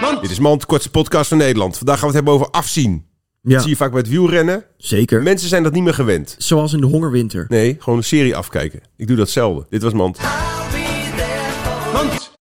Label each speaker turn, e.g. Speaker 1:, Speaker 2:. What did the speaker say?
Speaker 1: Mand.
Speaker 2: Dit is Mand, de kortste podcast van Nederland. Vandaag gaan we het hebben over afzien. Dat
Speaker 3: Ja,
Speaker 2: zie je vaak bij het wielrennen.
Speaker 3: zeker.
Speaker 2: Mensen zijn dat niet meer gewend.
Speaker 3: Zoals in de hongerwinter.
Speaker 2: Nee, gewoon een serie afkijken. Ik doe dat zelden. Dit was Mand.
Speaker 1: Mand.